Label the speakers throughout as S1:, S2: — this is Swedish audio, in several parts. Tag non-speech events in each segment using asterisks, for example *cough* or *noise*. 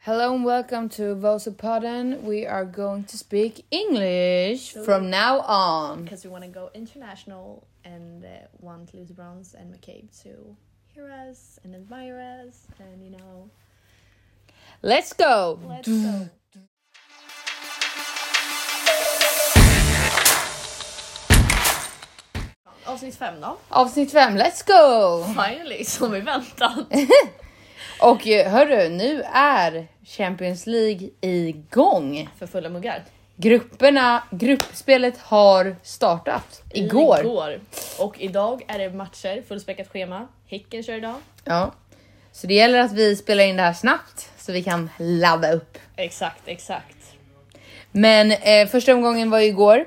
S1: Hello and welcome to Vosapoden. We are going to speak English from now on.
S2: because we want to go international and uh, want Louis Bronze and McCabe to hear us and admire us and you know
S1: Let's go!
S2: let's go. Avsnitt fem då.
S1: Avsnitt 5, let's go!
S2: Finally, som vi väntat.
S1: Och eh, hörru, nu är Champions League igång.
S2: För fulla muggar.
S1: Grupperna, gruppspelet har startat igår.
S2: Igår. Och idag är det matcher, fullspäckat schema. Häcken kör idag.
S1: Ja. Så det gäller att vi spelar in det här snabbt så vi kan ladda upp.
S2: Exakt, exakt.
S1: Men eh, första omgången var ju igår.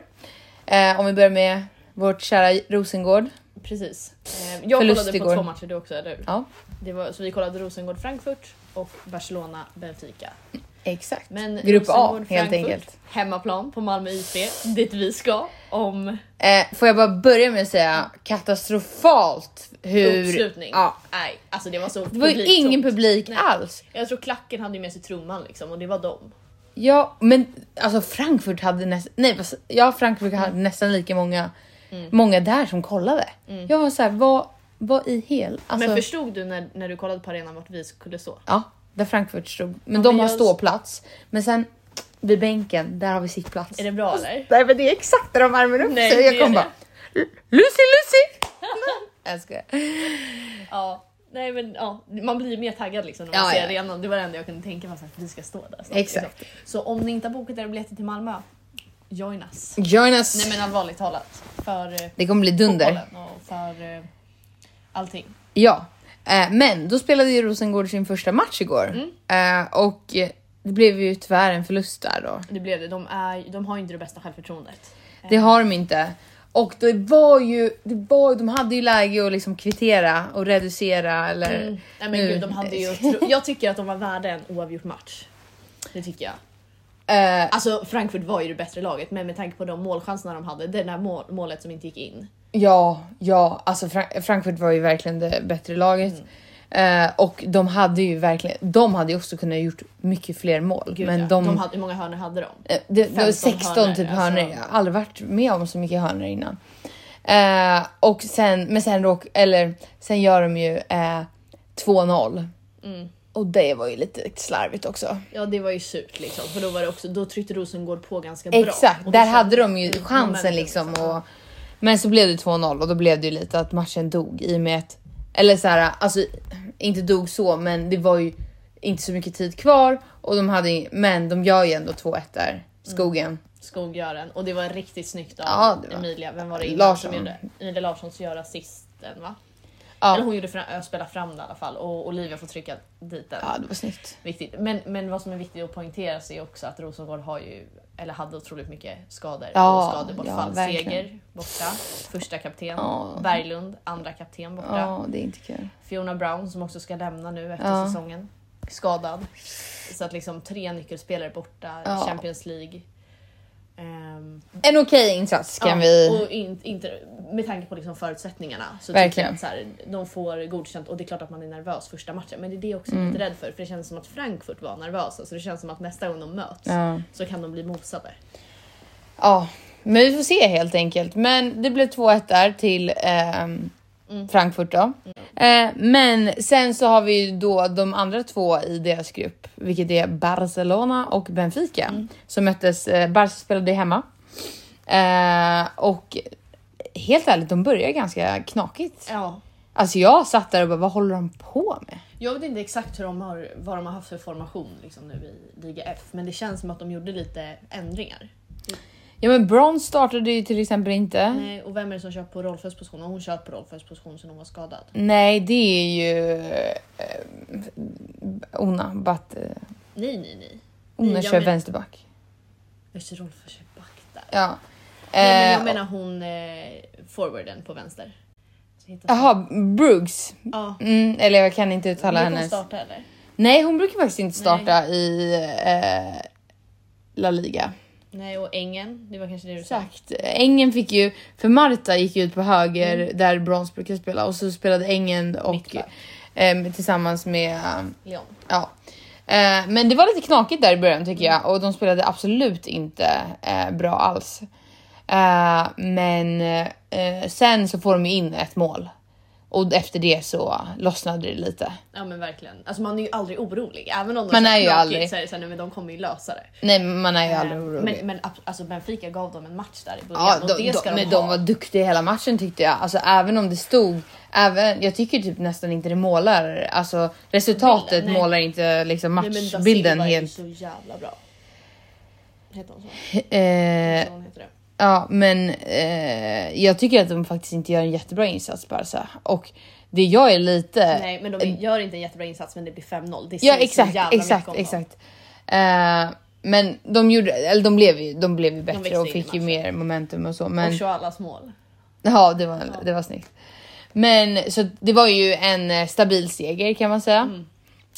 S1: Eh, om vi börjar med vårt kära Rosengård.
S2: Precis. Eh, Jag
S1: Förlust
S2: kollade på
S1: igår.
S2: två matcher du också, eller hur?
S1: Ja,
S2: Det var, så vi kollade Rosengård-Frankfurt och Barcelona-Benfica.
S1: exakt.
S2: Men
S1: Grupp A
S2: Rosengård,
S1: helt
S2: Frankfurt,
S1: enkelt.
S2: Hemmaplan på Malmö IP, dit vi ska om
S1: Eh, får jag bara börja med att säga katastrofalt hur...
S2: uppslutning.
S1: Ja,
S2: Nej, alltså det var så
S1: det var ju ingen publik
S2: Nej.
S1: alls.
S2: Jag tror klacken hade ju med sig trumman liksom och det var dem.
S1: Ja, men alltså Frankfurt hade nästan... Nej, fast- ja, Frankfurt hade
S2: Mm.
S1: nästan lika många, många där som kollade. Jag var så här, vad, vad i hel... Alltså,
S2: Mm. Men förstod du när, när du kollade på arenan vart vi skulle stå?
S1: Ja, där Frankfurt stod. Men
S2: Ja,
S1: de
S2: men
S1: har
S2: jag-
S1: ståplats. Men sen vid bänken, där har vi sittplats.
S2: Är det bra eller?
S1: Nej men det är exakt där de värmer upp
S2: Nej,
S1: sig.
S2: det
S1: Jag
S2: är
S1: kom
S2: det.
S1: bara "Lu- Lucy Lucy! *laughs* jag skojar.
S2: Ja. Nej men ja, man blir ju mer taggad liksom när
S1: Ja,
S2: man ser
S1: ja.
S2: arenan. Det var det enda jag kunde tänka mig, att vi ska stå där. snart,
S1: Exakt.
S2: Liksom. Så om ni inte har bokat era biljetter till Malmö, join us.
S1: Join us!
S2: Nej men allvarligt talat. För eh,
S1: Det kommer bli dunder.
S2: fotbollen och för eh, allting.
S1: Ja, eh, men då spelade ju Rosengård sin första match
S2: Mm.
S1: igår eh, och eh, det blev ju tyvärr en förlust där då.
S2: Det blev det. De, är, de har ju inte det bästa självförtroendet.
S1: Det har de inte. Och det var ju, det var, de hade ju läge att liksom kvittera och reducera eller...
S2: Mm. Nej men
S1: nu-
S2: gud, de hade ju
S1: *laughs*
S2: otro- Jag tycker att de var värda en oavgjort match. Det tycker jag.
S1: Eh,
S2: Alltså Frankfurt var ju det bättre laget, men med tanke på de målchanserna de hade, det där mål, målet som inte gick in.
S1: Ja, ja, alltså Fra- Frankfurt var ju verkligen det bättre laget.
S2: Mm.
S1: Eh, och de hade ju verkligen, de hade ju också kunnat gjort mycket fler mål.
S2: Gud,
S1: men
S2: ja.
S1: de,
S2: de hade, hur många hörnor hade de?
S1: eh, det, det var
S2: 15
S1: 16 typ
S2: hörnor,
S1: hörnor.
S2: alltså.
S1: Jag har aldrig varit med om så mycket hörnor innan. Eh, och sen, men sen råk, eller sen gör de ju eh, 2-0. Och det var ju lite slarvigt också.
S2: Mm. Ja det var ju surt liksom, för då var det också, då tryckte Rosengård på ganska bra.
S1: Exakt,
S2: Och då
S1: där
S2: kände-
S1: hade de ju
S2: Mm,
S1: chansen
S2: momentum,
S1: liksom. Och, men så blev det 2-0 och då blev det ju lite att matchen dog i och med att, eller så här, alltså inte dog så, men det var ju inte så mycket tid kvar och de hade, ju- men de gör ju ändå 2-1
S2: Mm.
S1: där. Skogen.
S2: Skoggören och det var riktigt snyggt av
S1: Ja, det var-
S2: Emilia. Vem var det innan
S1: Larsson.
S2: som gjorde? Emilia Larsson som gör assisten va? Eller
S1: Ja.
S2: hon gjorde fram, eh, spela fram den i alla fall och Olivia får trycka dit den.
S1: ja, det var snyggt.
S2: Viktigt. Men, men vad som är viktigt att poängtera sig är också att Rosengård har ju, eller hade otroligt mycket skador
S1: Ja,
S2: och skadebortfall.
S1: ja, verkligen.
S2: Seger borta, första kapten.
S1: Ja.
S2: Berglund, andra kapten borta.
S1: Ja, det är inte kul.
S2: Fiona Brown som också ska lämna nu efter
S1: Ja.
S2: säsongen. Skadad. Så att liksom tre nyckelspelare borta,
S1: Ja.
S2: Champions League. Ehm,
S1: En okej insats kan
S2: ja,
S1: vi.
S2: och in, inte, med tanke på liksom förutsättningarna så tycker
S1: Verkligen.
S2: jag att så här, de får godkänt och det är klart att man är nervös första matchen men det är det jag också
S1: Mm.
S2: lite rädd för för det känns som att Frankfurt var nervösa så det känns som att nästa gång de möts
S1: Ja.
S2: så kan de bli mosade.
S1: Ja, men vi får se helt enkelt. Men det blev 2-1 där till ehm, Frankfurt då. Eh, men sen så har vi ju då de andra två i deras grupp, vilket är Barcelona och Benfica som möttes. Eh, Barca spelade hemma eh, och helt ärligt, de började ganska knakigt.
S2: Ja.
S1: Alltså, jag satt där och bara, vad håller de på med?
S2: Jag vet inte exakt hur de har, vad de har haft för formation liksom nu i Liga F men det känns som att de gjorde lite ändringar.
S1: Ja, men Bron startade ju till exempel inte.
S2: Nej, Eh, och vem är det som kör på Rolfes position? Och hon kör på Rolfes position sen hon var skadad.
S1: Nej, det är ju eh, Ona Bat. Eh,
S2: Nej, nej, nej.
S1: Ona
S2: Nej, jag
S1: kör
S2: men-
S1: vänsterback.
S2: Just det, Rolfes kör back där.
S1: Ja.
S2: Nej, men jag
S1: Eh,
S2: menar hon eh, forwarden på vänster. Så hittar-
S1: Jaha, Brooks.
S2: Ja.
S1: Mm, eller jag kan inte uttala
S2: Brukar hon
S1: hennes.
S2: starta eller?
S1: Nej, hon brukar faktiskt inte starta i eh, La Liga.
S2: Nej, och Engen, det var kanske det du sa.
S1: Exakt. Ängen fick ju, för Marta gick ju ut på höger
S2: Mm.
S1: där Brons brukar spela och så spelade Ängen och
S2: Mittback.
S1: eh, tillsammans med,
S2: Leon.
S1: ja. Eh, men det var lite knakigt där i början tycker jag och de spelade absolut inte eh, bra alls. Eh, men eh, sen så får de ju in ett mål och efter det så lossnade det lite.
S2: Ja men verkligen. Alltså man är ju aldrig orolig. Även om det
S1: Man
S2: känns
S1: är ju
S2: tråkigt
S1: aldrig.
S2: typ så är det såhär, nej, men de kommer ju lösa det.
S1: Nej, men man är ju aldrig orolig.
S2: Eh, Men, men ab- alltså Benfica gav dem en match där i början
S1: Ja,
S2: och
S1: de,
S2: det
S1: de,
S2: ska de,
S1: men
S2: ha.
S1: de var duktiga hela matchen tyckte jag. Alltså även om det stod, även, jag tycker typ nästan inte det målar, alltså resultatet
S2: Bilden, nej.
S1: målar inte liksom
S2: Nej, men da
S1: matchbilden
S2: Silva är ju
S1: helt.
S2: så jävla bra. Heter hon så?
S1: Eh,
S2: Så hon heter det.
S1: ja, men eh, jag tycker att de faktiskt inte gör en jättebra insats Barca och det jag är lite.
S2: Nej men de gör inte en jättebra insats men det blir 5-0. Det
S1: eh, ja,
S2: säger så
S1: exakt,
S2: jävla mycket
S1: exakt,
S2: om dem.
S1: exakt. Eh, men de gjorde, eller de blev ju, de blev ju bättre
S2: växte
S1: och
S2: in i
S1: fick ju
S2: matchen.
S1: mer momentum och så. Men
S2: Och Shoalas mål.
S1: Ja, det var, det var snyggt. Men så det var ju en eh, stabil seger kan man säga.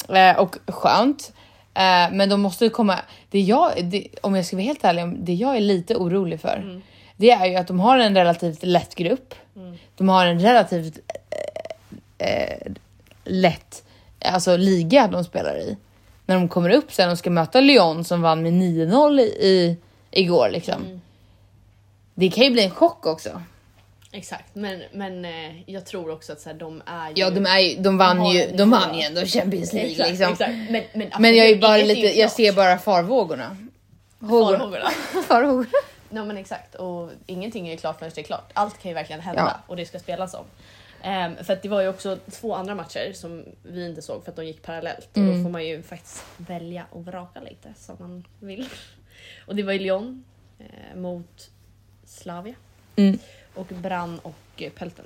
S1: Eh, och skönt. Eh, men de måste ju komma. Det jag, det, om jag ska vara helt ärlig, om- det jag är lite orolig för. Det är ju att de har en relativt lätt grupp. De har en relativt eh, eh, lätt alltså, liga de spelar i. När de kommer upp sen och ska möta Lyon som vann med 9-0 i, i, igår. Liksom. Det kan ju bli en chock också.
S2: Exakt men, men eh, jag tror också att så här, de är ju...
S1: Ja, de, är, ju- de vann
S2: har
S1: ju. De
S2: en nivå.
S1: vann ju ändå Champions League
S2: Exakt,
S1: liksom.
S2: exakt. Men, men, alltså,
S1: Men
S2: absolut,
S1: jag är ju bara
S2: inget
S1: lite. Jag
S2: klart.
S1: ser bara farvågorna. Hågorna.
S2: Farhågorna.
S1: *laughs* Farvågorna.
S2: *laughs* Nej men exakt och ingenting är ju klart förrän det är klart. Allt kan ju verkligen hända
S1: Ja.
S2: och det ska spelas om. Ehm, för att det var ju också två andra matcher som vi inte såg för att de gick parallellt och
S1: Mm.
S2: då får man ju faktiskt välja och vraka lite som man vill. *laughs* Och det var ju Lyon eh, mot Slavia
S1: Mm.
S2: och Brann och eh, Pelten.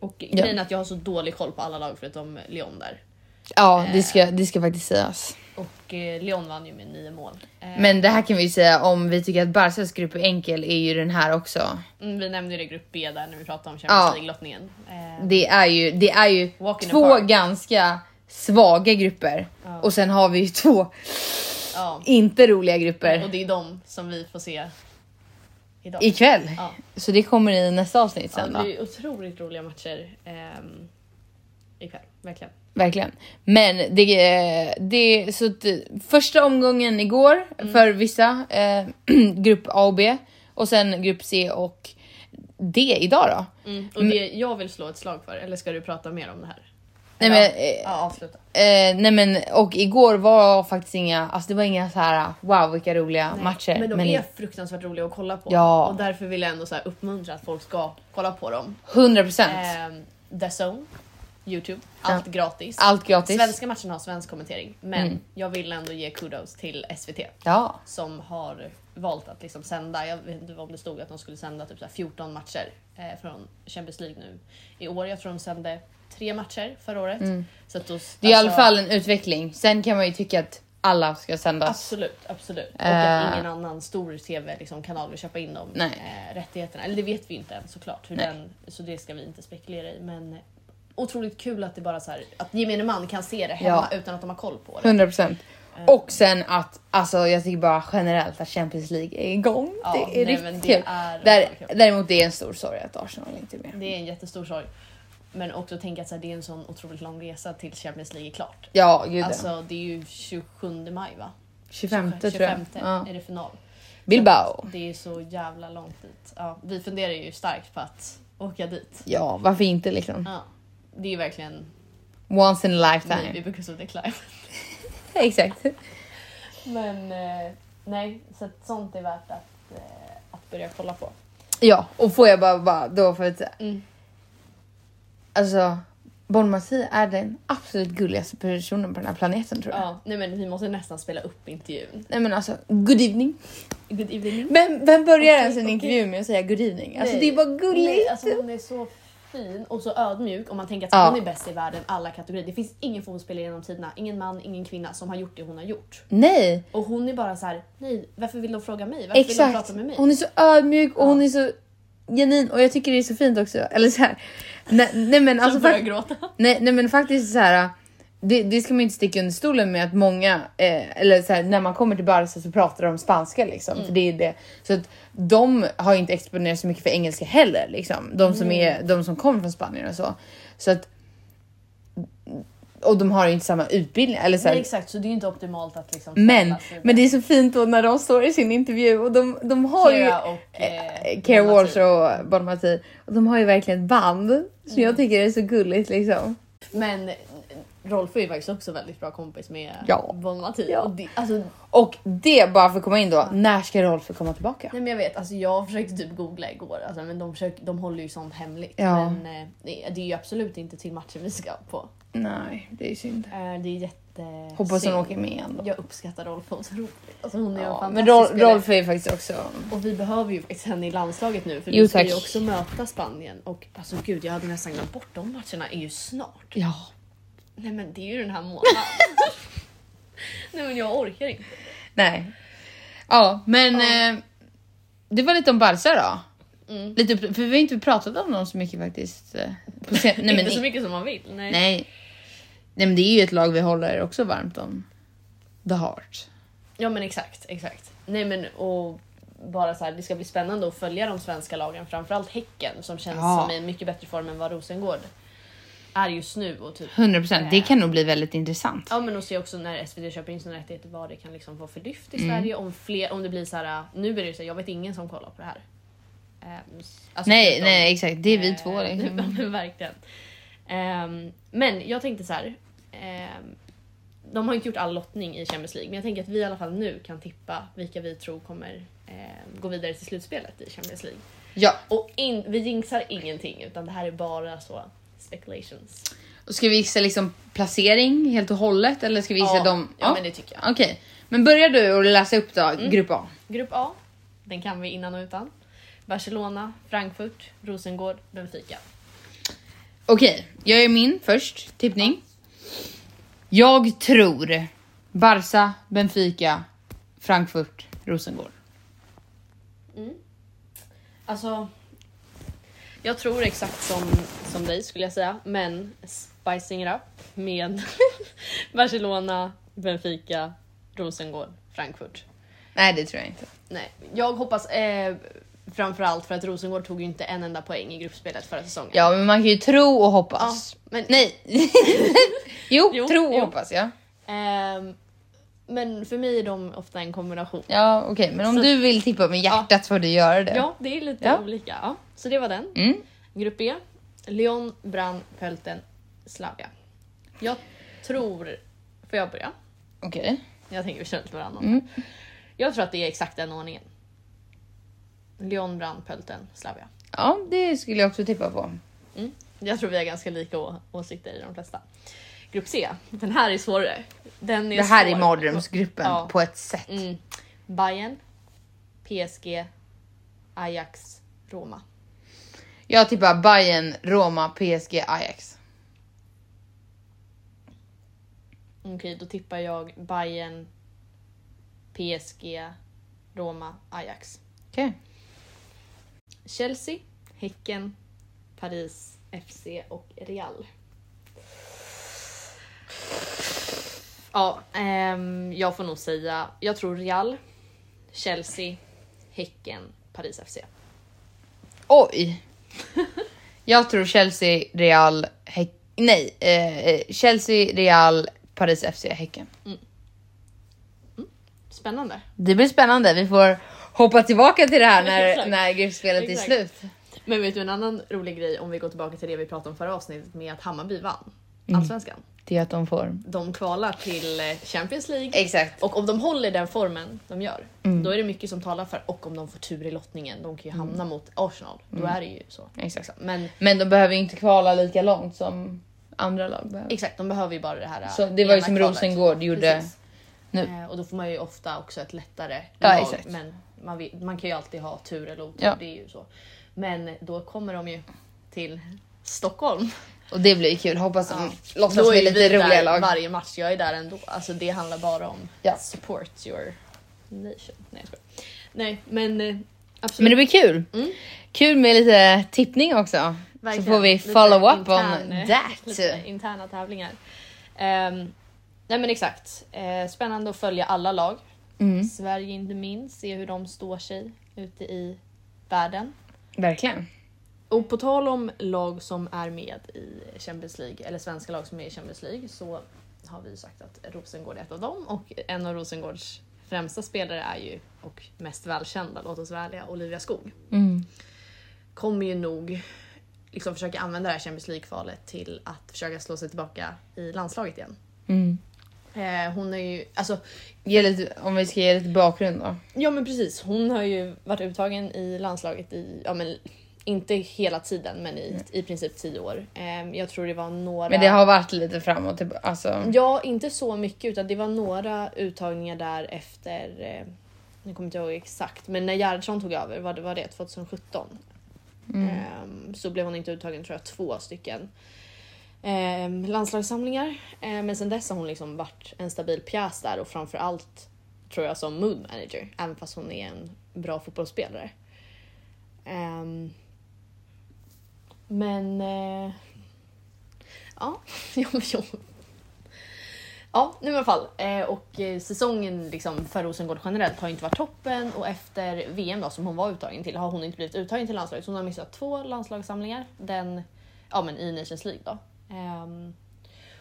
S2: Och
S1: Ja.
S2: grejen är att jag har så dålig koll på alla lag förutom Lyon där.
S1: Ja, det ska, det ska faktiskt sägas.
S2: Och eh, Lyon vann ju med nio mål. Ehm,
S1: Men det här kan vi ju säga om vi tycker att Barcas grupp är enkel är ju den här också.
S2: Mm, vi nämnde ju det i grupp B där när vi pratade om
S1: Ja.
S2: Champions League-lottningen. Eh,
S1: Det är ju, det är ju
S2: Walk in the
S1: två
S2: park.
S1: ganska svaga grupper och sen har vi ju två
S2: ja.
S1: inte roliga grupper
S2: Och det är de som vi får se idag.
S1: ikväll.
S2: Ja.
S1: Så det kommer i nästa avsnitt
S2: Ja,
S1: sen
S2: det
S1: då.
S2: blir otroligt roliga matcher ehm, ikväll, verkligen.
S1: Verkligen. Men det, eh, det så att eh, första omgången igår
S2: Mm.
S1: för vissa, eh, *clears throat* grupp A och B och sen grupp C och D idag då.
S2: Mm. Och det jag vill slå ett slag för, eller ska du prata mer om det här?
S1: Nej,
S2: Ja.
S1: men, eh,
S2: Ja, avsluta.
S1: eh, nej men och igår var faktiskt inga, alltså det var inga så här wow vilka roliga matcher.
S2: Men de är fruktansvärt roliga att kolla på.
S1: Ja.
S2: Och därför vill jag ändå så här uppmuntra att folk ska kolla på dem.
S1: 100 procent.
S2: Ehm, The Zone, Youtube, allt gratis.
S1: Allt gratis.
S2: Svenska matchen har svensk kommentering, men
S1: Mm.
S2: jag vill ändå ge kudos till SVT.
S1: Ja,
S2: som har valt att liksom sända, jag vet inte om det stod att de skulle sända typ så här 14 matcher eh, från Champions League nu i år. Jag tror de sände tre matcher förra året. Så att då,
S1: Mm. det är i alla
S2: alltså,
S1: fall en utveckling. Sen kan man ju tycka att alla ska sändas.
S2: Absolut, absolut. Och
S1: Eh.
S2: att ingen annan stor tv-kanal liksom, kanal vill köpa in de
S1: Nej.
S2: eh, rättigheterna. Eller det vet vi inte än såklart, hur
S1: Nej.
S2: den, så det ska vi inte spekulera i. Men eh, otroligt kul att det bara så här, att gemene man kan se det hemma
S1: Ja.
S2: utan att de har koll på det.
S1: 100 procent. Och sen att, alltså jag tycker bara generellt att Champions League är igång.
S2: Ja,
S1: det är
S2: nej, men
S1: riktigt
S2: det
S1: kul.
S2: är
S1: Där,
S2: kul.
S1: däremot det är en stor sorg att Arsenal inte är med.
S2: Det är en jättestor sorg. Men också tänka att så här, det är en sån otroligt lång resa till Champions League är klart.
S1: Ja, gud ja.
S2: Alltså det är ju 27 maj va?
S1: 25 tror jag.
S2: 25
S1: Ja.
S2: är det final.
S1: Bilbao.
S2: Det är så jävla långt dit. Ja, vi funderar ju starkt på att åka dit.
S1: Ja, varför inte liksom?
S2: Ja, det är verkligen
S1: Once in a lifetime.
S2: maybe because of the climb.
S1: Exakt.
S2: Men eh, nej, så att sånt är värt att, eh, att börja kolla på.
S1: Ja, och får jag bara, bara då för att säga.
S2: Mm.
S1: Alltså, Bonmasi är den absolut gulligaste personen på den här planeten tror jag.
S2: Ja, nej men vi måste nästan spela upp intervjun.
S1: Nej men alltså, good evening.
S2: Good evening.
S1: Vem, vem börjar
S2: Okej,
S1: ens en
S2: okej.
S1: intervju med att säga good evening? Alltså
S2: Nej.
S1: det är bara gulligt.
S2: Nej, alltså hon är så fin och så ödmjuk om man tänker att
S1: Ja.
S2: hon är bäst i världen alla kategorier. Det finns ingen fotbollsspelare genom tiderna, ingen man, ingen kvinna som har gjort det hon har gjort.
S1: Nej,
S2: Och hon är bara så här: nej varför vill de fråga mig? Varför vill de
S1: exakt.
S2: prata med mig?
S1: Hon är så ödmjuk och hon är så genuin och jag tycker det är så fint också. Eller så här. Nej, nej men alltså
S2: börjar
S1: fak-
S2: gråta.
S1: nej, nej men faktiskt så här. Det, det ska man ju inte sticka under stolen med att många, eh, eller så här, när man kommer till Barca så pratar de spanska liksom.
S2: Mm.
S1: För det är det. Så att de har ju inte exponerats så mycket för engelska heller.
S2: Mm.
S1: Liksom. De, som är, de som kommer från Spanien och så. Så att Och de har ju inte samma utbildning. Eller så här,
S2: Nej, exakt, så det är ju inte optimalt att liksom...
S1: men,
S2: ställa sig
S1: men det är så fint då när de står i sin intervju och de, de har ju...
S2: Kira och... eh,
S1: Care
S2: Bon
S1: Walsh
S2: Natur.
S1: och Bon Mati. Och de har ju verkligen ett band som jag tycker är så gulligt liksom.
S2: typ. Men Rolf är ju faktiskt också väldigt bra kompis med
S1: Ja.
S2: Bon Mati.
S1: Ja.
S2: Och det, alltså,
S1: Och det bara för att komma in då. När ska Rolf få komma tillbaka?
S2: nej men jag vet, alltså jag försökte typ googla igår, alltså, men de, försöker, de håller ju sånt hemligt.
S1: Ja.
S2: Men eh, det det är ju absolut inte till matchen vi ska på.
S1: Nej, det är ju synd.
S2: Eh, det är jätte...
S1: Hoppas hon
S2: synd.
S1: åker med igen då.
S2: Jag uppskattar Rolf otroligt. Alltså hon är
S1: Ja,
S2: en
S1: men
S2: fantastisk
S1: Rol-
S2: spelare.
S1: Rolf är ju faktiskt också...
S2: Och vi behöver ju faktiskt henne i landslaget nu för
S1: Jo,
S2: vi ska ju
S1: tack.
S2: också möta Spanien. Och alltså gud, jag hade nästan glömt bort de matcherna är ju snart.
S1: Ja.
S2: Nej men det är ju den
S1: *laughs*
S2: här månaden. Nej men jag orkar inte.
S1: Nej. Ja, Mm. men Eh, det var lite om Barca då. Lite, upp- för vi har inte pratat om dem så mycket faktiskt. eh, På *laughs* sen- nej, men,
S2: inte så mycket som man vill. Nej.
S1: nej. nej, men det är ju ett lag vi håller också varmt om. The Heart.
S2: Ja men exakt, exakt. Nej men och bara så här, det ska bli spännande att följa de svenska lagen, framförallt Häcken som känns
S1: Ja.
S2: som är i mycket bättre form än vad Rosengård är just nu. Och typ
S1: 100 procent. Det kan nog bli väldigt intressant.
S2: Ja men och se också när SVT köper in sina rättigheter vad det kan liksom vara för lyft i
S1: Mm.
S2: Sverige. Om, fler, om det blir så här, nu är det ju så här, jag vet ingen som kollar på det här. Ehm, alltså
S1: Nej,
S2: förutom-
S1: nej, exakt. Det är vi
S2: Eh,
S1: två. Liksom.
S2: *laughs* ja, men verkligen. Ehm, men jag tänkte så här. ehm, de har inte gjort all lottning i Champions League men jag tänker att vi i alla fall nu kan tippa vilka vi tror kommer ehm, gå vidare till slutspelet i Champions League.
S1: Ja,
S2: Och in, vi jinxar ingenting utan det här är bara så speculations.
S1: och ska vi gissa liksom placering helt och hållet eller ska vi gissa
S2: ja,
S1: dem?
S2: ja, men det Mm. tycker jag.
S1: Okej, men börjar du och läsa upp då, grupp A.
S2: Grupp A, den kan vi innan och utan. Barcelona, Frankfurt, Rosengård, Benfica.
S1: Okej, jag gör min först. Tippning. Jag tror Barca, Benfica, Frankfurt, Rosengård.
S2: Alltså, jag tror exakt som, som dig skulle jag säga, men spicing it up med *laughs* Barcelona, Benfica, Rosengård, Frankfurt.
S1: Nej, det tror jag inte.
S2: Nej, jag hoppas eh, framförallt för att Rosengård tog ju inte en enda poäng i gruppspelet förra säsongen.
S1: Ja, men man kan ju tro och hoppas.
S2: men,
S1: Nej. *laughs* jo,
S2: Jo,
S1: tro och
S2: jo.
S1: hoppas ja.
S2: Ehm, men för mig är de ofta en kombination.
S1: Ja, okej, men om
S2: Så-
S1: du vill tippa med hjärtat får du göra det.
S2: Ja, det är lite
S1: Ja.
S2: olika. Ja, så det var den.
S1: Mm.
S2: Grupp B. Lyon, Brann, Pölten, Slavia. Jag tror... Får jag börja?
S1: Okej.
S2: Jag tänker vi kör lite varandra.
S1: Mm.
S2: Jag tror att det är exakt den ordningen. Lyon, Brann, Pölten, Slavia.
S1: Ja, det skulle jag också tippa på.
S2: Mm. Jag tror vi har ganska lika å- åsikter i de flesta. Grupp C. Den här är svårare. Den är
S1: Det här är
S2: svår.
S1: mardrömsgruppen
S2: Ja.
S1: på ett sätt.
S2: Mm. Bayern, PSG, Ajax, Roma.
S1: Jag tippar Bayern, Roma, PSG, Ajax.
S2: Okej, då tippar jag Bayern, PSG, Roma, Ajax.
S1: Okej.
S2: Chelsea, Häcken, Paris, FC och Real. Ja, ehm, jag får nog säga, jag tror Real, Chelsea, Häcken, Paris FC. *laughs*
S1: Oj! jag tror Chelsea, Real, Häck... Nej, eh, eh, Chelsea, Real, Paris FC, Häcken.
S2: Spännande.
S1: Det blir spännande. Vi får hoppa tillbaka till det här när,
S2: *laughs* Exakt.
S1: när gruppspelet är
S2: Exakt.
S1: slut.
S2: Men vet du en annan rolig grej om vi går tillbaka till det vi pratade om förra avsnittet med att Hammarby vann Allsvenskan.
S1: Det är att de får.
S2: De kvalar till eh, Champions League.
S1: Exakt.
S2: Och om de håller den formen de gör,
S1: Mm.
S2: då är det mycket som talar för. Och om de får tur i lottningen, de kan ju
S1: Mm.
S2: hamna mot Arsenal. Då är det ju så.
S1: Exakt.
S2: Men
S1: Men de behöver ju inte kvala lika långt som andra lag behöver.
S2: exakt, de behöver ju bara det här. eh,
S1: Så det var ju
S2: ena
S1: som
S2: kvalet.
S1: Rosengård gjorde.
S2: Precis.
S1: nu.
S2: Eh, Och då får man ju ofta också ett lättare
S1: Ja,
S2: lag.
S1: exakt.
S2: Men man, vet, man kan ju alltid ha tur eller otur.
S1: Ja.
S2: Det är ju så. Men då kommer de ju till Stockholm.
S1: Och det blir ju kul. Hoppas de låtsas
S2: Då
S1: med
S2: är vi
S1: lite
S2: där
S1: roliga lag.
S2: varje match. Jag är där ändå. Alltså det handlar bara om
S1: Ja.
S2: support your nation. Nej, jag skojar. Nej men eh, absolut.
S1: Men det blir kul.
S2: Mm.
S1: Kul med lite tippning också.
S2: Verkligen.
S1: Så får vi
S2: Lite
S1: follow up on
S2: intern- Lite
S1: that.
S2: interna tävlingar. Ehm, nej men exakt. Eh, spännande att följa alla lag.
S1: Mm.
S2: Sverige inte minst. Se hur de står sig ute i världen.
S1: Verkligen.
S2: Och på tal om lag som är med i Champions League, eller svenska lag som är med i Champions League, så har vi ju sagt att Rosengård är ett av dem och en av Rosengårds främsta spelare är ju, och mest välkända, låt oss vara ärliga, Olivia Skog.
S1: Mm.
S2: Kommer ju nog liksom försöka använda det här Champions League-kvalet till att försöka slå sig tillbaka i landslaget igen.
S1: Mm.
S2: Eh, hon är ju, alltså
S1: Ge lite, om vi ska ge lite bakgrund då.
S2: Ja men precis, hon har ju varit uttagen i landslaget i, ja men inte hela tiden men i, i princip tio år. Ehm, jag tror det var några...
S1: Mm. Men det har varit lite fram och tillbaka. Alltså,
S2: Ja, inte så mycket utan det var några uttagningar där efter, eh, nu kommer inte jag ihåg exakt, men när Gerhardsson tog över, vad var det? 2017?
S1: Mm.
S2: Ehm, så blev hon inte uttagen tror jag två stycken ehm, landslagssamlingar. Ehm, men sen dess har hon liksom varit en stabil pjäs där och framförallt tror jag som mood manager, även fast hon är en bra fotbollsspelare. Ehm, men... eh, ja, *laughs* ja, men ja. Ja, nu i alla fall. Eh, och eh, säsongen liksom, för Rosengård generellt har ju inte varit toppen och efter VM då, som hon var uttagen till har hon inte blivit uttagen till landslaget. Så hon har missat två landslagssamlingar. Den, ja, men i Nations League då. Ehm,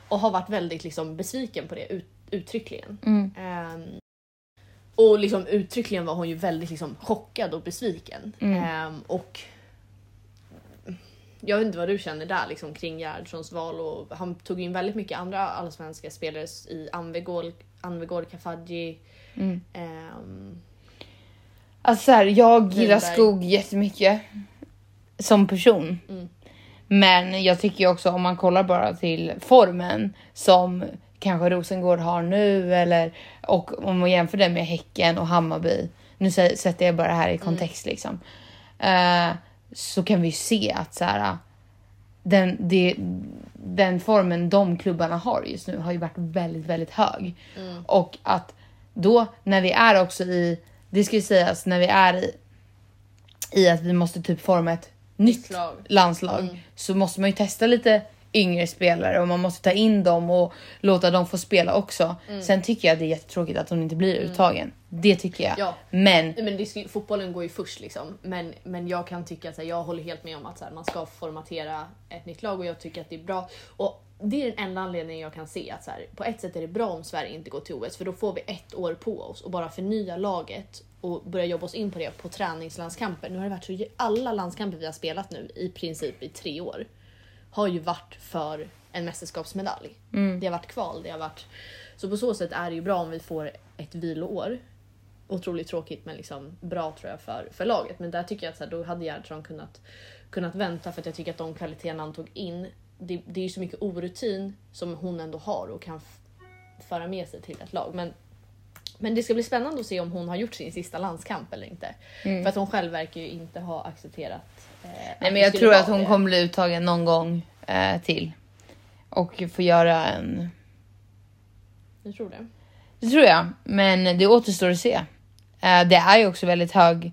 S2: och har varit väldigt liksom, besviken på det ut, uttryckligen.
S1: Mm.
S2: Ehm, och liksom, uttryckligen var hon ju väldigt liksom, chockad och besviken. Ehm, och jag vet inte vad du känner där liksom, kring Gerhardssons val. Och han tog in väldigt mycket andra allsvenska spelare i Anvegård, Anvegård Kafaji.
S1: Mm.
S2: ehm,
S1: alltså så här, jag gillar
S2: Vinberg.
S1: skog jättemycket. Som person.
S2: Mm.
S1: Men jag tycker ju också om man kollar bara till formen som kanske Rosengård har nu eller och om man jämför det med Häcken och Hammarby. Nu sä- sätter jag bara det här i kontext liksom. Eh, så kan vi ju se att så här, den, det, den formen de klubbarna har just nu har ju varit väldigt, väldigt hög. Och att då när vi är också i, det ska ju sägas, när vi är i, i att vi måste typ forma ett nytt
S2: Lag.
S1: landslag
S2: Mm.
S1: så måste man ju testa lite yngre spelare och man måste ta in dem och låta dem få spela också.
S2: Mm.
S1: Sen tycker jag det är jättetråkigt att hon inte blir uttagen. Det tycker jag.
S2: Ja.
S1: Men
S2: Nej, men det, ska- fotbollen går ju först liksom. Men, men jag kan tycka att så här, jag håller helt med om att så här, man ska formatera ett nytt lag och jag tycker att det är bra. Och det är den enda anledningen jag kan se att så här, på ett sätt är det bra om Sverige inte går till OS för då får vi ett år på oss och bara förnya laget och börja jobba oss in på det på träningslandskamper. Nu har det varit så j- alla landskamper vi har spelat nu i princip i tre år har ju varit för en mästerskapsmedalj. Det har varit kval, det har varit... Så på så sätt är det ju bra om vi får ett viloår otroligt tråkigt men liksom bra tror jag för, för laget. Men där tycker jag att så här, då hade Gerhardsson kunnat, kunnat vänta för att jag tycker att de kvaliteterna han tog in, det, det är ju så mycket orutin som hon ändå har och kan f- föra med sig till ett lag. Men, men det ska bli spännande att se om hon har gjort sin sista landskamp eller inte. För att hon själv verkar ju inte ha accepterat eh, att
S1: Mm. Nej,
S2: det
S1: men jag
S2: skulle
S1: tror
S2: vara
S1: att hon
S2: det.
S1: kommer bli uttagen någon gång eh, till. Och få göra en...
S2: Jag tror det.
S1: Det tror jag. Men det återstår att se. Eh, det är ju också väldigt hög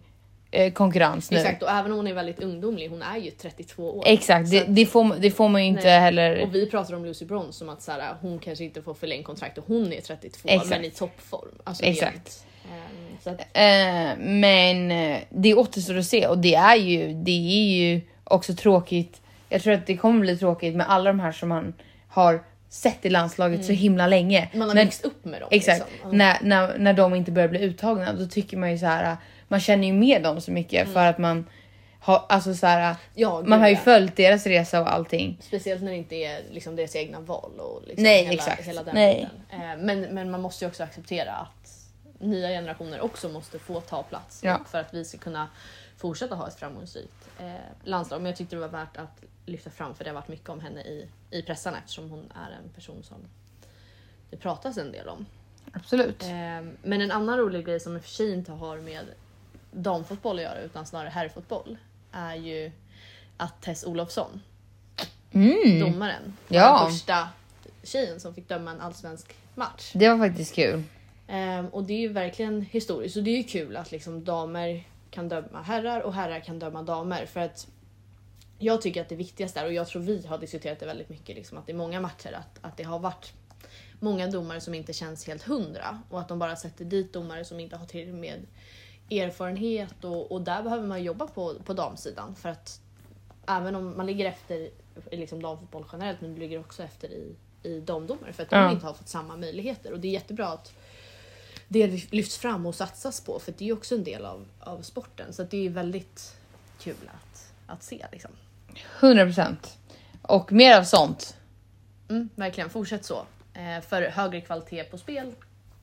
S1: eh, konkurrens nu. Exakt.
S2: Exakt och även om hon är väldigt ungdomlig, hon är ju 32 år.
S1: det, det, får, det får man ju inte
S2: Nej.
S1: heller...
S2: Och vi pratar om Lucy Bronze som att så här, hon kanske inte får förlängt kontrakt och hon är 32
S1: Exakt.
S2: men i toppform. Alltså,
S1: Exakt.
S2: det är ju- ehm, så att,
S1: Eh, men eh, det återstår att se och det är ju, det är ju också tråkigt. Jag tror att det kommer bli tråkigt med alla de här som man har sett i landslaget så himla länge.
S2: Mm. man har
S1: Men-
S2: växt upp med dem.
S1: Exakt.
S2: Liksom.
S1: När, när, när de inte börjar bli uttagna då tycker man ju så här. Man känner ju med dem så mycket
S2: Mm.
S1: för att man har, alltså så här,
S2: Ja, gud,
S1: man har ju
S2: ja.
S1: följt deras resa och allting.
S2: Speciellt när det inte är liksom, deras egna val och liksom,
S1: Nej,
S2: hela,
S1: exakt.
S2: hela den
S1: Nej.
S2: biten. Ehm, men, men man måste ju också acceptera att nya generationer också måste få ta plats
S1: Ja.
S2: för att vi ska kunna fortsätta ha ett framgångsrikt eh, landslag. Men jag tyckte det var värt att lyfta fram för det har varit mycket om henne i, i pressarna eftersom hon är en person som det pratas en del om.
S1: Absolut.
S2: Ehm, Men en annan rolig grej som i och för sig inte har med damfotboll att göra utan snarare herrfotboll är ju att Tess Olofsson, domaren, var
S1: Ja.
S2: den första tjejen som fick döma en allsvensk match.
S1: Det var faktiskt kul.
S2: Ehm, och det är ju verkligen historiskt. Så det är ju kul att liksom damer kan döma herrar och herrar kan döma damer. För att jag tycker att det viktigaste är, och jag tror vi har diskuterat det väldigt mycket, liksom, att i många matcher att, att det har varit många domare som inte känns helt hundra. Och att de bara sätter dit domare som inte har tillräckligt med erfarenhet. Och, och där behöver man jobba på, på damsidan. För att även om man ligger efter i liksom damfotboll generellt, men du ligger också efter i, i damdomar för att
S1: Ja.
S2: de inte har fått samma möjligheter. Och det är jättebra att det lyfts fram och satsas på för det är ju också en del av, av sporten. Så att det är väldigt kul att, att se. Liksom.
S1: 100%. Och mer av sånt.
S2: Mm, verkligen, fortsätt så. Eh, för högre kvalitet på spel,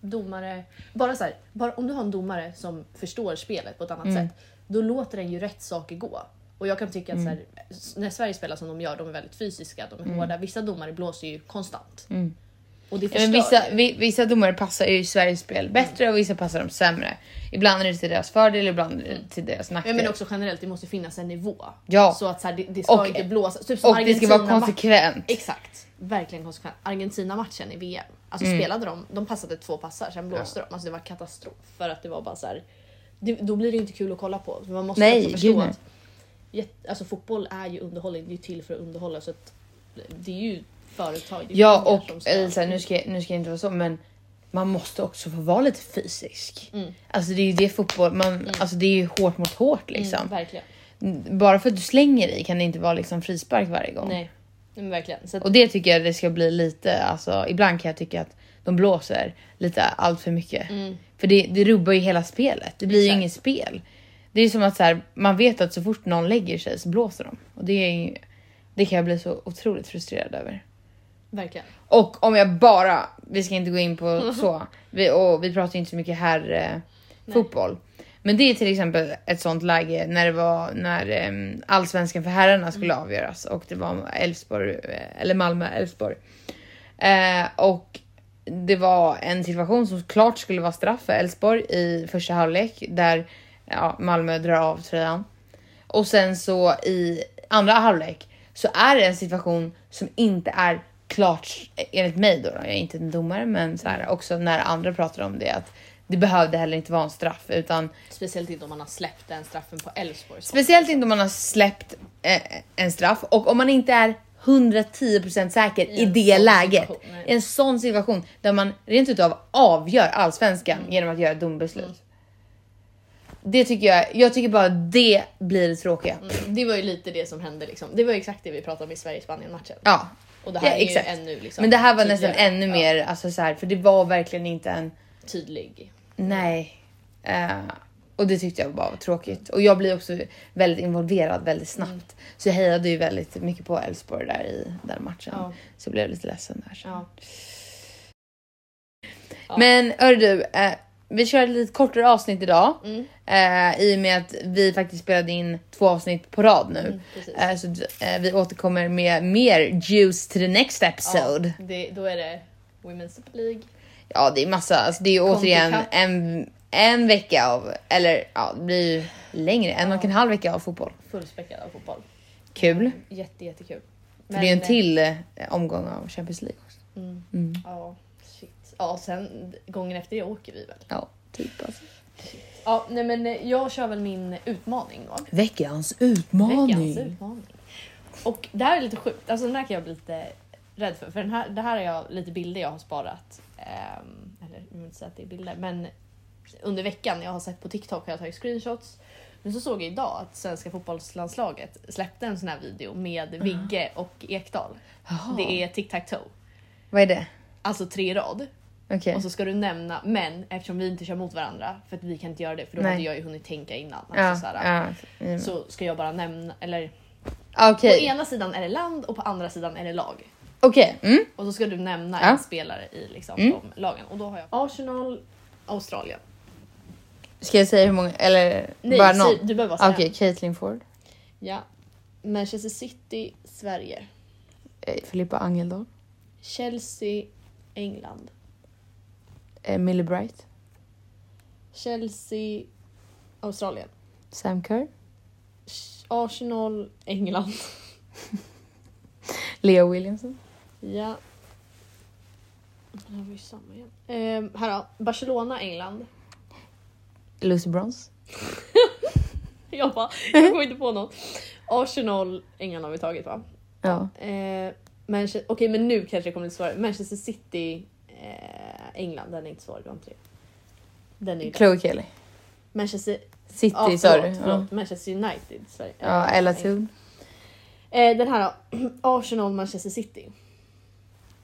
S2: domare. Bara så här, bara om du har en domare som förstår spelet på ett annat
S1: Mm.
S2: sätt, då låter den ju rätt saker gå. Och jag kan tycka att så
S1: Mm.
S2: här, s- när Sverige spelar som de gör, de är väldigt fysiska, de är hårda. Vissa domare blåser ju konstant. Och det
S1: Mm. Ja,
S2: förstör.
S1: Men vissa,
S2: ju.
S1: vi, vissa domare passar ju Sveriges spel bättre och vissa passar dem sämre. Ibland är det till deras fördel, ibland är det till deras
S2: Mm. Ja,
S1: nackdel.
S2: men också generellt, det måste finnas en nivå.
S1: Ja.
S2: Så att så här, det, det ska
S1: Och-
S2: inte blåsa. Typ som
S1: och det ska vara
S2: Argentina-matchen.
S1: konsekvent.
S2: Exakt, verkligen konsekvent. Argentina-matchen i VM, alltså
S1: Mm.
S2: spelade de, de passade två passar, sen blåste de. Alltså det var katastrof för att det var bara så här. Det, då blir det inte kul att kolla på. Så Man måste
S1: Nej,
S2: också
S1: gud,
S2: förstå
S1: nej.
S2: att jätte, alltså, fotboll är ju underhållning, det är ju till för att underhålla så att det är ju företag. det är
S1: Ja
S2: pengar som
S1: och
S2: ska-
S1: Elisa, nu ska, jag- nu ska jag inte vara så men man måste också få vara lite fysisk.
S2: Mm.
S1: Alltså det är ju det fotboll, man, alltså det är ju hårt mot hårt liksom.
S2: Mm, verkligen.
S1: Bara för att du slänger i kan det inte vara liksom frispark varje gång.
S2: Nej, men verkligen. Så att,
S1: Och det tycker jag det ska bli lite, alltså ibland kan jag tycka att de blåser lite allt för mycket. För det, det rubbar ju hela spelet, det blir ju
S2: Mm. Exakt.
S1: inget spel. Det är som att så här, man vet att så fort någon lägger sig så blåser de. Och det, är ju, det kan jag bli så otroligt frustrerad över.
S2: verkligen.
S1: Och om jag bara, vi ska inte gå in på så, vi, och vi pratar ju inte så mycket här eh, fotboll. Men det är till exempel ett sånt läge när det var när eh, allsvenskan för herrarna skulle avgöras och det var Elfsborg, eh, eller Malmö Elfsborg. Eh, och det var en situation som klart skulle vara straff för Elfsborg i första halvlek där ja, Malmö drar av tröjan. Och sen så i andra halvlek så är det en situation som inte är klart, enligt mig då, då jag är inte en domare, men så här, också när andra pratar om det att det behövde heller inte vara en straff utan
S2: Speciellt inte om man har släppt den straffen på Elfsborg.
S1: speciellt inte om man har släppt eh, en straff och om man inte är 110% säker i,
S2: en
S1: det
S2: sån
S1: läget.
S2: situation, nej.
S1: I en sån situation där man rent utav avgör allsvenskan
S2: Mm.
S1: genom att göra ett dombeslut. Det tycker jag, jag tycker bara det blir det tråkiga.
S2: Det var ju lite det som hände liksom. Det var ju exakt det vi pratade om i Sverige-Spanien-matchen.
S1: Ja,
S2: Och det här
S1: Ja,
S2: är ju
S1: exakt.
S2: ännu liksom,
S1: men det här var nästan
S2: tydligare.
S1: ännu
S2: Ja,
S1: mer alltså så här, för det var verkligen inte en
S2: tydlig.
S1: nej. Eh, och det tyckte jag bara var tråkigt och jag blir också väldigt involverad väldigt
S2: Mm.
S1: snabbt. Så jag hejade ju väldigt mycket på Elfsborg där i den matchen.
S2: Ja.
S1: Så jag blev lite ledsen där. sen.
S2: Ja. Ja.
S1: Men hör du, eh, vi kör ett lite kortare avsnitt idag
S2: Mm.
S1: eh, i och med att vi faktiskt spelade in två avsnitt på rad nu.
S2: Mm, precis.
S1: Eh, så eh, vi återkommer med mer juice till the next episode.
S2: Ja, det, då är det Women's Super League.
S1: Ja, det är massa. Alltså, det är ju återigen
S2: Concacaf.
S1: en, en vecka av, eller ja, det blir ju längre, en och en halv vecka av fotboll.
S2: Fullspäckad av fotboll.
S1: Kul.
S2: Jätte, jättekul.
S1: För det är ju en till eh, omgång av Champions League också.
S2: mm.
S1: Mm.
S2: Ja, shit. Ja, sen gången efter det åker vi väl.
S1: Ja, typ alltså.
S2: Ja, nej men eh, jag kör väl min utmaning då.
S1: Veckans
S2: Veckans
S1: utmaning.
S2: utmaning. Och det här är lite sjukt, alltså den här kan jag bli lite rädd för. För den här, det här är jag, lite bilder jag har sparat. Ehm, eller jag vill inte säga att det är bilder, men under veckan jag har sett på TikTok har jag tagit screenshots. Men så såg jag idag att svenska fotbollslandslaget släppte en sån här video med Vigge och Ekdal.
S1: Jaha.
S2: Det är tic-tac-toe.
S1: Vad är det?
S2: Alltså tre i rad.
S1: Okej.
S2: Och så ska du nämna, men eftersom vi inte kör mot varandra, för att vi kan inte göra det för då
S1: Nej.
S2: hade jag ju hunnit tänka innan. Alltså
S1: Ja,
S2: så, här,
S1: ja. mm. Ah,
S2: så ska jag bara nämna, eller På
S1: Okej.
S2: ena sidan är det land och på andra sidan är det lag.
S1: Okej. Mm.
S2: Och så ska du nämna
S1: Ja. Mm.
S2: en spelare i liksom de lagen. Och då har jag Arsenal, Australien.
S1: Ska jag säga hur många, eller
S2: Nej,
S1: bara
S2: säg-
S1: någon?
S2: du behöver bara säga.
S1: Okej, Caitlin Ford.
S2: Ja. Manchester City, Sverige.
S1: Eh, Filippa Angeldal.
S2: Chelsea, England.
S1: Eh, Millie Bright.
S2: Chelsea, Australien.
S1: Sam Kerr.
S2: Sh- Arsenal, England.
S1: Leo Williamson.
S2: Ja. Det här var ju samma igen. Ehm, här då. Barcelona, England. *laughs*
S1: Lucy Bronze.
S2: Jag bara, jag går inte på något. Arsenal, England har vi tagit va?
S1: Ja.
S2: Eh, Manchester, Okej, men nu kanske det kommer lite svårare. Manchester City, eh, England, den är inte svår. Det var inte det. Den är ju lätt.
S1: Chloe Kelly.
S2: Manchester,
S1: City
S2: ja,
S1: sa du.
S2: förlåt,
S1: Ja.
S2: förlåt, Manchester United, Sverige.
S1: Ja, Ella
S2: England.
S1: Thun.
S2: Eh, den här då. *clears throat* Arsenal-Manchester City.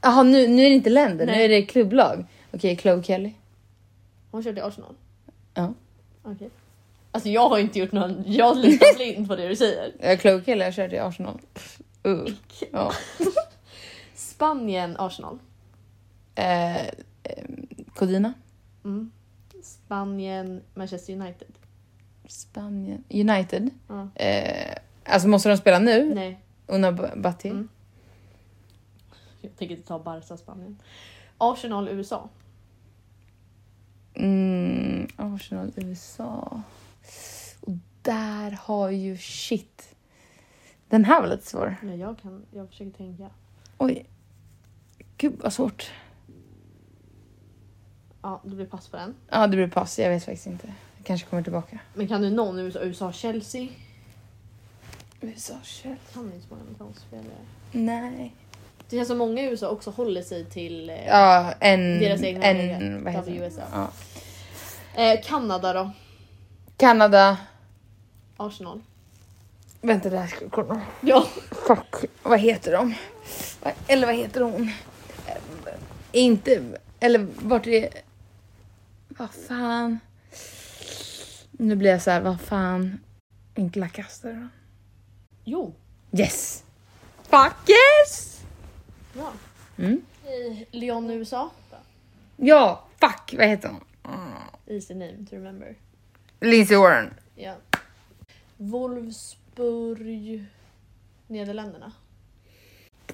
S1: Jaha, nu, nu är det inte länder, nu
S2: Nej.
S1: är det klubblag. Okej, Chloe Kelly.
S2: Hon körde i Arsenal?
S1: Ja.
S2: Okej. Alltså jag har inte gjort någon...
S1: *laughs*
S2: Jag litar blind på det du säger.
S1: Ja, Eh, Chloe Kelly har kört i Arsenal. Uh. Ja.
S2: Spanien-Arsenal.
S1: Eh, eh, Codina?
S2: Mm. Spanien-Manchester United.
S1: Spanien? United?
S2: Ja.
S1: Eh, alltså måste de spela nu?
S2: Nej,
S1: Una B- Batti?
S2: Mm. jag tänker inte ta Barca-Spanien. Arsenal-USA.
S1: Mm, Arsenal, USA. Och där har ju shit. Den här var lite svår.
S2: Ja, jag kan... Jag försöker tänka.
S1: Oj. Gud vad svårt.
S2: Ja, det blir pass på den.
S1: Ja, det blir pass. Jag vet faktiskt inte. Jag kanske kommer tillbaka.
S2: Men kan du någon USA? USA-Chelsea?
S1: USA, Chelsea.
S2: Kan inte så många amerikanska spelare.
S1: Nej.
S2: Det känns som många i USA också håller sig till... eh,
S1: Ja, en...
S2: Deras egna
S1: en
S2: liga.
S1: vad heter
S2: WSL.
S1: det? Ja.
S2: Eh, Kanada då?
S1: Kanada.
S2: Arsenal?
S1: Vänta, där ska jag kolla.
S2: Ja.
S1: Fuck. Vad heter de? Va- Eller vad heter hon? Eh, Inte... Eller vart är det... Vad fan? Nu blir jag så här, vad fan? Inte La Casta då?
S2: Jo.
S1: Yes! Fuck yes!
S2: Bra.
S1: Mm.
S2: I Lyon, USA?
S1: Ja, fuck, vad heter hon?
S2: Easy name to remember.
S1: Lindsay Warren.
S2: Ja. Wolfsburg, Nederländerna.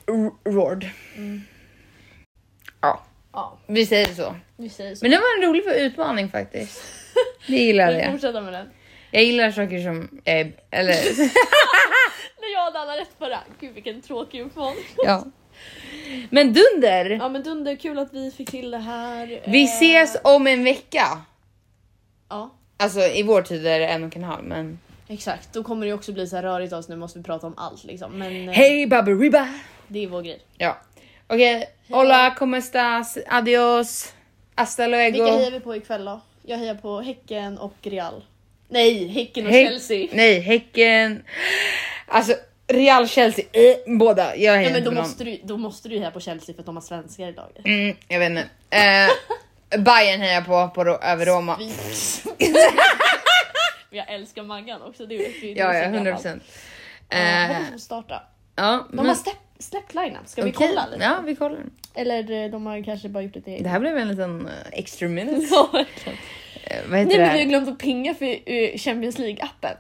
S1: R- Rord.
S2: Mm.
S1: Ja,
S2: Ja,
S1: vi säger så.
S2: vi säger så.
S1: Men det var en rolig utmaning faktiskt. Det gillade
S2: vi
S1: jag.
S2: fortsätter med den.
S1: Jag gillar saker som... Eh, eller...
S2: När jag hade alla rätt på det. här. Gud vilken tråkig utmaning.
S1: Ja. Men dunder!
S2: Ja men Dunder, kul att vi fick till det här.
S1: Vi
S2: Eh,
S1: ses om en vecka.
S2: Ja,
S1: Alltså i vår tid är det en och en halv men...
S2: exakt. Då kommer det också bli så här rörigt av oss nu måste vi prata om allt liksom. Men eh,
S1: Hej Baberiba!
S2: det är vår grej.
S1: Ja. Okej, hola, como estas, adios, hasta
S2: Vilka hejar
S1: luego.
S2: vi på ikväll då? Jag hejar på Häcken och Real. Nej, Häcken och
S1: Hej-
S2: Chelsea.
S1: Nej, Häcken. Alltså Real, Chelsea, eh, båda. Jag
S2: Ja
S1: hejar
S2: men
S1: inte
S2: då
S1: på någon.
S2: måste, du, då måste du heja på Chelsea för att de har svenskar idag.
S1: Mm, jag vet inte. Eh, Bayern hejar på, på Ro- över Roma.
S2: Vi... Men jag älskar Maggan också, det vet vi ju.
S1: Ja, ja,
S2: Det är så
S1: 100
S2: gammalt.
S1: procent.
S2: Eh, hoppas de får starta.
S1: ja,
S2: De har släpp, släppt line-up, ska vi
S1: okej.
S2: kolla lite?
S1: Ja, vi kollar.
S2: Eller eh, de har kanske bara gjort ett eget.
S1: Det här blev en liten eh, extra minute.
S2: *laughs* Ja, verkligen.
S1: Eh, vad heter
S2: Nej
S1: det
S2: men
S1: här?
S2: vi har glömt att pinga för eh, Champions League-appen.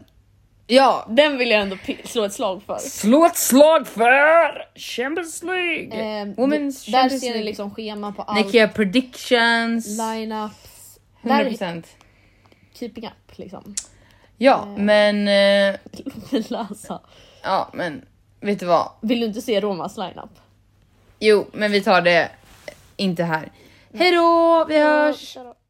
S1: Ja,
S2: Den vill jag ändå pi- slå ett slag för.
S1: Slå ett slag för Champions League!
S2: Eh,
S1: Women's
S2: d- där
S1: Champions
S2: ser ni
S1: League.
S2: liksom schema på
S1: Ni
S2: allt.
S1: kan göra predictions.
S2: Line-ups. Där är
S1: 100%.
S2: keeping up liksom. *laughs*
S1: Ja, men... eh,
S2: Läsa.
S1: ja, men vet du vad?
S2: Alltså, Vill du inte se Romas line-up?
S1: Jo, men vi tar det inte här. Hej då, vi hörs!
S2: Ja, tja då.